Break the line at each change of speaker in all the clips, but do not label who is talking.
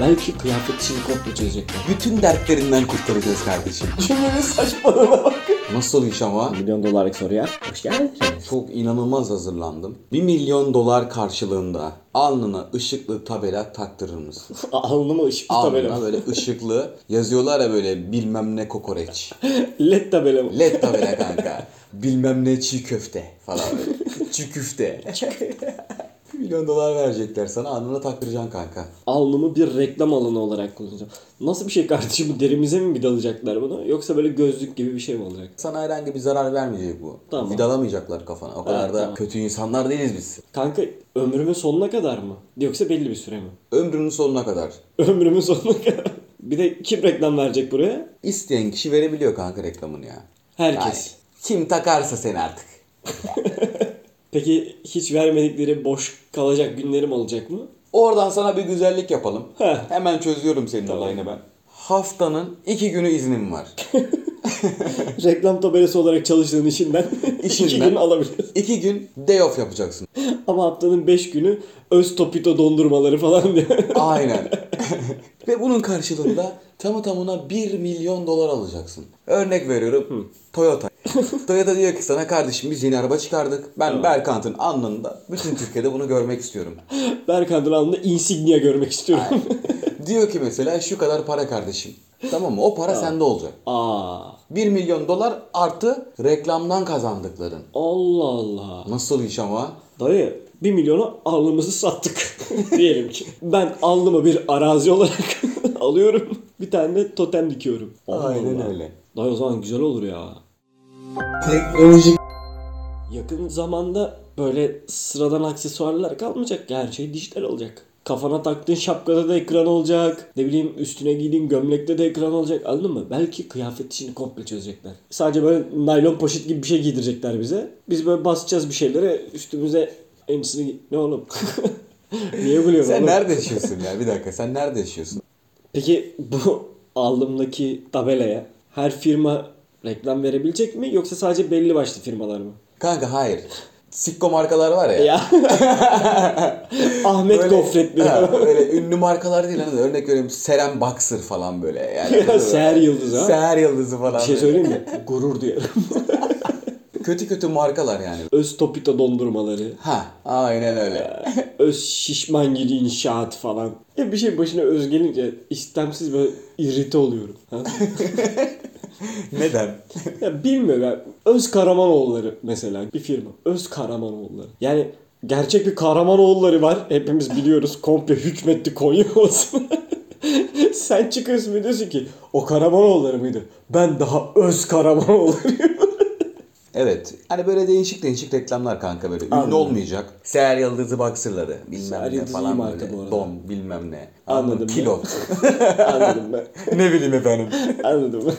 Belki kıyafet işini komple çözecekler.
Bütün dertlerinden kurtaracağız kardeşim. Şunların saçmalığına bak. Nasıl iş ama?
Milyon dolarlık soruya hoş geldiniz.
Çok inanılmaz hazırlandım. 1 milyon dolar karşılığında alnına ışıklı tabela taktırır mısın?
Alnıma ışık
Alnına
tabela.
böyle ışıklı yazıyorlar ya böyle bilmem ne kokoreç.
LED tabela mı?
Led tabela kanka. Bilmem ne çiğ köfte falan böyle. çiğ köfte. 1 milyon dolar verecekler sana alnına taktıracaksın kanka.
Alnımı bir reklam alanı olarak kullanacağım. Nasıl bir şey kardeşim? Derimize mi vidalayacaklar bunu? Yoksa böyle gözlük gibi bir şey mi olacak?
Sana herhangi bir zarar vermeyecek bu.
Tamam.
Vidalamayacaklar kafana. O kadar da
tamam.
kötü insanlar değiliz biz.
Kanka ömrümün sonuna kadar mı? Yoksa belli bir süre mi?
Ömrünün sonuna kadar.
Ömrümün sonuna kadar. Bir de kim reklam verecek buraya?
İsteyen kişi verebiliyor kanka reklamını ya.
Herkes.
Yani kim takarsa seni artık.
Peki hiç vermedikleri boş kalacak günlerim olacak mı?
Oradan sana bir güzellik yapalım.
Heh.
Hemen çözüyorum senin olayını ben. Haftanın iki günü iznim var.
Reklam tabelası olarak çalıştığın işinden iki
İşinden.
gün alabilirsin.
iki gün day off yapacaksın.
Ama haftanın 5 günü öz topito dondurmaları falan diye.
Aynen. Ve bunun karşılığında tamı tamına 1 milyon dolar alacaksın. Örnek veriyorum Toyota. Toyota diyor ki sana kardeşim biz yeni araba çıkardık. Ben Berkant'ın anlamında bütün Türkiye'de bunu görmek istiyorum.
Berkant'ın alnında insignia görmek istiyorum.
diyor ki mesela şu kadar para kardeşim. Tamam mı? O para sende olacak.
Aa,
1 milyon dolar artı reklamdan kazandıkların.
Allah Allah.
Nasıl iş ama?
Dayı 1 milyona alnımızı sattık diyelim ki. Ben alnımı bir arazi olarak alıyorum. Bir tane de totem dikiyorum. Allah Allah.
öyle.
Dayı o zaman güzel olur ya.
Teknoloji
Yakın zamanda böyle sıradan aksesuarlar kalmayacak. Her şey dijital olacak. Kafana taktığın şapkada da ekran olacak. Ne bileyim üstüne giydiğin gömlekte de ekran olacak. Anladın mı? Belki kıyafet işini komple çözecekler. Sadece böyle naylon poşet gibi bir şey giydirecekler bize. Biz böyle basacağız bir şeylere üstümüze emsini... giy- Ne oğlum? Niye gülüyorsun
Sen
oğlum?
nerede yaşıyorsun ya? Bir dakika sen nerede yaşıyorsun?
Peki bu alnımdaki tabelaya her firma reklam verebilecek mi? Yoksa sadece belli başlı firmalar mı?
Kanka hayır. Sikko markalar var ya.
Ya. Ahmet Gofret bir
Ha, böyle ünlü markalar değil hani örnek veriyorum Seren Boxer falan böyle yani.
Seher Yıldız ha.
Seher Yıldızı falan.
Bir şey
böyle.
söyleyeyim mi? Gurur duyarım.
Kötü kötü markalar yani.
Öz topita dondurmaları,
Ha aynen öyle.
öz şişmangili inşaat falan. Ya bir şey başına öz gelince istemsiz böyle irrite oluyorum. Ha?
Neden?
ya bilmiyorum ya. Öz Karamanoğulları mesela bir firma. Öz Karamanoğulları. Yani gerçek bir Karamanoğulları var. Hepimiz biliyoruz. Komple hükmetti Konya olsun. Sen çıkıyorsun ve diyorsun ki o Karamanoğulları mıydı? Ben daha öz Karamanoğullarıyım.
Evet. Hani böyle değişik değişik reklamlar kanka böyle. Ünlü
Anladım.
olmayacak. Seher Yıldızı Boxer'ları bilmem
Seher
ne
Yıldızı iyi
falan
marka
böyle.
bu arada.
Don bilmem ne.
Anladım ben.
Pilot.
Anladım ben.
ne bileyim efendim.
Anladım.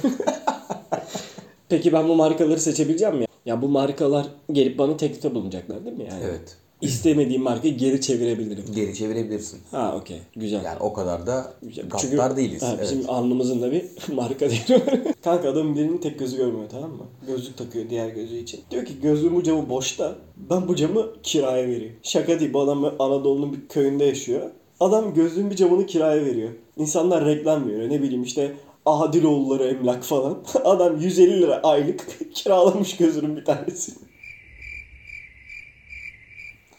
Peki ben bu markaları seçebileceğim mi? Ya bu markalar gelip bana teklifte bulunacaklar değil mi? Yani
Evet.
İstemediğim markayı geri çevirebilirim.
Geri çevirebilirsin.
Ha okey. Güzel.
Yani o kadar da
Güzel. Çünkü-
gaddar değiliz.
şey Ha,
evet.
bizim alnımızın da bir marka değeri var. Kanka adamın birinin tek gözü görmüyor tamam mı? Gözlük takıyor diğer gözü için. Diyor ki gözlüğün bu camı boşta. Ben bu camı kiraya vereyim. Şaka değil bu adam Anadolu'nun bir köyünde yaşıyor. Adam gözlüğün bir camını kiraya veriyor. İnsanlar reklam veriyor. Ne bileyim işte Adiloğulları emlak falan. Adam 150 lira aylık kiralamış gözünün bir tanesini.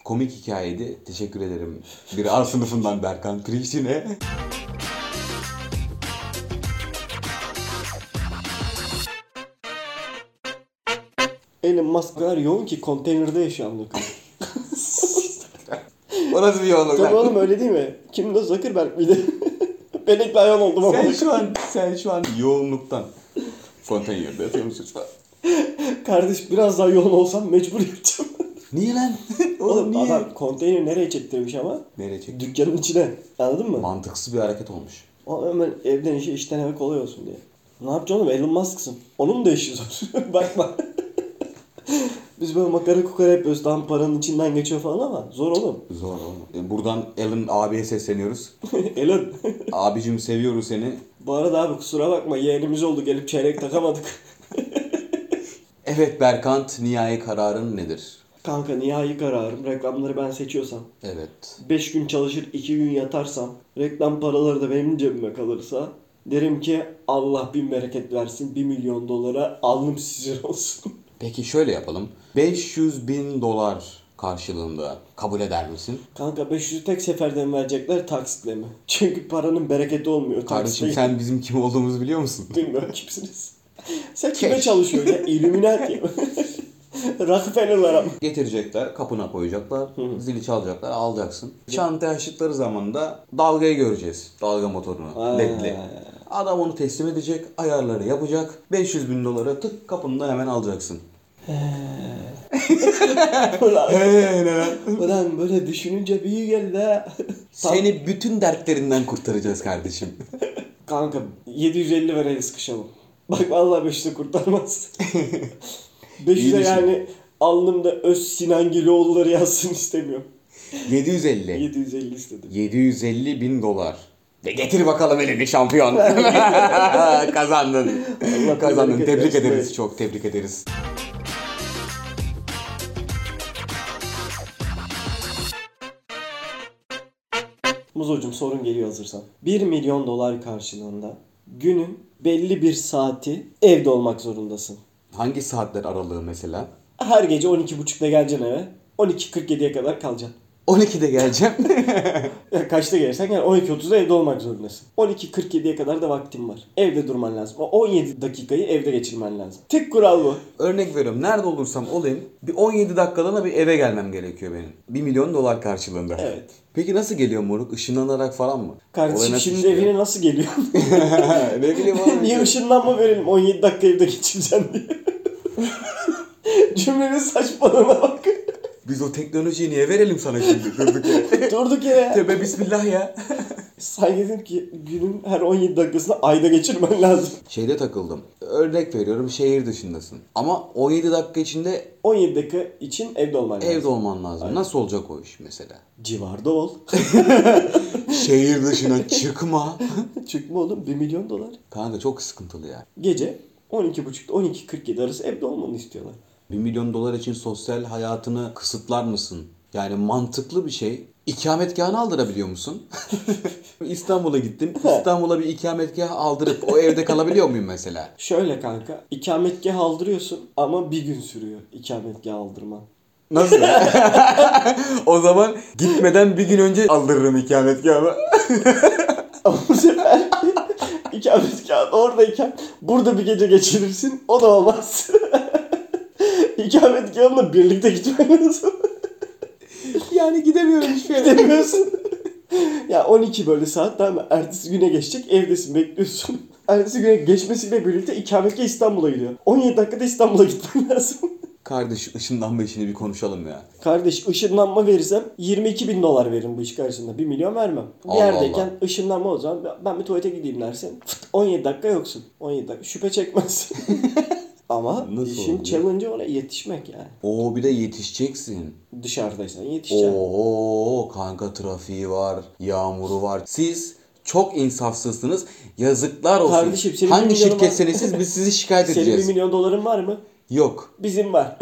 Komik hikayeydi. Teşekkür ederim. Bir A sınıfından Berkan Priştine.
Elon Musk kadar yoğun ki konteynerde yaşıyor amına koyayım.
Orası bir yoğunluk.
Tabii oğlum öyle değil mi? Kim de Zuckerberg miydi? Benekli hayvan oldum ama.
Sen şu an, sen şu an yoğunluktan Fontaineble'de yatıyor musun şu an?
Kardeş biraz daha yoğun olsam mecbur yapacağım.
Niye lan?
Oğlum adam konteyneri nereye çektirmiş ama?
Nereye çekti?
Dükkanın içine. Anladın mı?
Mantıksız bir hareket olmuş.
O hemen evden işe işten eve kolay olsun diye. Ne yapacaksın oğlum Elon Musk'sın. Onun da işi zor. Bakma. Biz böyle makara kukara yapıyoruz. Tam paranın içinden geçiyor falan ama zor oğlum.
Zor oğlum. Yani Buradan Alan abiye sesleniyoruz.
Elon.
Abicim seviyoruz seni.
Bu arada abi kusura bakma yeğenimiz oldu gelip çeyrek takamadık.
Evet Berkant nihai kararın nedir?
Kanka nihai kararım. Reklamları ben seçiyorsam.
Evet.
5 gün çalışır 2 gün yatarsam. Reklam paraları da benim cebime kalırsa. Derim ki Allah bin bereket versin 1 milyon dolara alnım sizin olsun.
Peki şöyle yapalım. 500 bin dolar karşılığında kabul eder misin?
Kanka 500'ü tek seferden verecekler taksitle mi? Çünkü paranın bereketi olmuyor taksitle.
Kardeşim sen bizim kim olduğumuzu biliyor musun?
Bilmiyorum kimsiniz. Sen kime
Keş.
çalışıyorsun ya? Illuminati mi? Rockefeller'lar ama.
Getirecekler, kapına koyacaklar, zili çalacaklar, alacaksın. Çanta açtıkları zaman da dalgayı göreceğiz. Dalga motorunu,
Ha.
ledli. Adam onu teslim edecek, ayarları yapacak. 500 bin dolara tık kapında hemen alacaksın.
Ulan,
Eee ne
ulan böyle düşününce bir iyi geldi ha.
Seni bütün dertlerinden kurtaracağız kardeşim.
Kanka 750 ver el sıkışalım. Bak vallahi 500'ü kurtarmaz. 500'e
düşün.
yani alnımda öz Sinan Giloğulları yazsın istemiyorum.
750.
750 istedim.
750 bin dolar. Ve getir bakalım elini şampiyon. Kazandın.
Allah
Kazandın.
tebrik
Tebrik
edersin.
ederiz. Çok tebrik ederiz.
Muzocuğum sorun geliyor hazırsan. 1 milyon dolar karşılığında günün belli bir saati evde olmak zorundasın.
Hangi saatler aralığı mesela?
Her gece 12.30'da geleceksin eve. 12.47'ye kadar kalacaksın.
12'de geleceğim.
Ya kaçta gelirsen gel 12.30'da evde olmak zorundasın. 12.47'ye kadar da vaktin var. Evde durman lazım. O 17 dakikayı evde geçirmen lazım. Tek kural bu.
Örnek veriyorum. Nerede olursam olayım. Bir 17 dakikalığına bir eve gelmem gerekiyor benim. 1 milyon dolar karşılığında.
Evet.
Peki nasıl geliyor moruk? Işınlanarak falan mı? Olay
Kardeşim
nasıl
şimdi
işliyor?
evine nasıl geliyor?
ne bileyim oğlum.
Niye ışınlanma verelim 17 dakika evde geçireceğim diye. Cümlenin saçmalığına bak.
Biz o teknolojiyi niye verelim sana şimdi? Durduk yere.
Durduk yere ya.
Tebe bismillah ya.
Sen dedim ki günün her 17 dakikasını ayda geçirmen lazım.
Şeyde takıldım. Örnek veriyorum şehir dışındasın. Ama 17 dakika içinde
17 dakika için evde olman lazım.
evde olman lazım. Nasıl olacak o iş mesela?
Civarda ol.
Şehir dışına çıkma.
Çıkma oğlum 1 milyon dolar.
Kanka çok sıkıntılı ya.
Gece 12.30'da 12.47 arası evde olmanı istiyorlar.
1 milyon dolar için sosyal hayatını kısıtlar mısın? Yani mantıklı bir şey. İkametgahını aldırabiliyor musun? İstanbul'a gittim. İstanbul'a bir ikametgah aldırıp o evde kalabiliyor muyum mesela?
Şöyle kanka ikametgah aldırıyorsun ama bir gün sürüyor ikametgah aldırman.
Nasıl? o zaman gitmeden bir gün önce aldırırım ikametgahımı.
Ama bu sefer ikametgah oradayken burada bir gece geçirirsin o da olmaz. ikametgahınla birlikte gitmen lazım.
yani gidemiyorum hiçbir yere.
Gidemiyorsun. ya 12 böyle saat tamam mı? Ertesi güne geçecek evdesin bekliyorsun. Ertesi güne geçmesiyle birlikte ikametgah İstanbul'a gidiyor. 17 dakikada İstanbul'a gitmen lazım.
Kardeş ışınlanma işini bir konuşalım ya.
Kardeş ışınlanma verirsem 22 bin dolar veririm bu iş karşısında. 1 milyon vermem. Bir
Allah
yerdeyken ışınlanma o zaman ben- ben bir tuvalete gideyim dersin. Fıt, 17 dakika yoksun. 17 dakika şüphe çekmez. Ama
Nasıl
işin
oluyor?
challenge'ı ona yetişmek yani.
Oo bir de yetişeceksin.
Dışarıdaysan yetişeceksin.
Oo kanka trafiği var, yağmuru var. Siz çok insafsızsınız. Yazıklar olsun.
Kardeşim, senin bir
Hangi
milyonun var-
şirketseniz siz biz sizi şikayet
Senin 1
edeceğiz.
milyon doların var mı?
Yok.
Bizim var.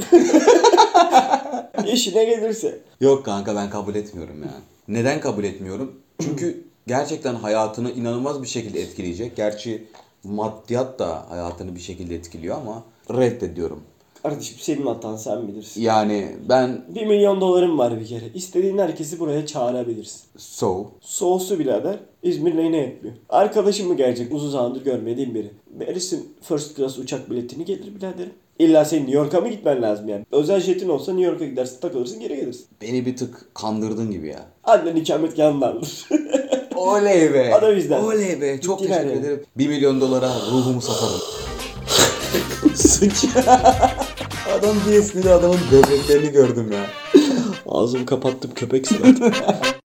İşine gelirse.
Yok kanka ben kabul etmiyorum ya. Neden kabul etmiyorum? Çünkü gerçekten hayatını inanılmaz bir şekilde etkileyecek. Gerçi maddiyat da hayatını bir şekilde etkiliyor ama reddediyorum.
Kardeşim senin hatan sen bilirsin.
Yani ben
1 milyon doların var bir kere. İstediğin herkesi buraya çağırabilirsin.
so
Soğusu birader İzmir'le ne yapıyor? Arkadaşım mı gelecek uzun zamandır görmediğim biri? Verirsin first class uçak biletini gelir biraderim. İlla senin New York'a mı gitmen lazım yani? Özel jetin olsa New York'a gidersin takılırsın geri gelirsin.
beni bir tık kandırdın gibi ya.
Annen ikametgahını alır.
Oley be.
O da bizden.
Oley be. Çok
Gittiler
teşekkür
yani.
ederim. 1 milyon dolara ruhumu satarım. Adam bir esnide adamın böbreklerini gördüm ya.
Ağzımı kapattım köpek sıra.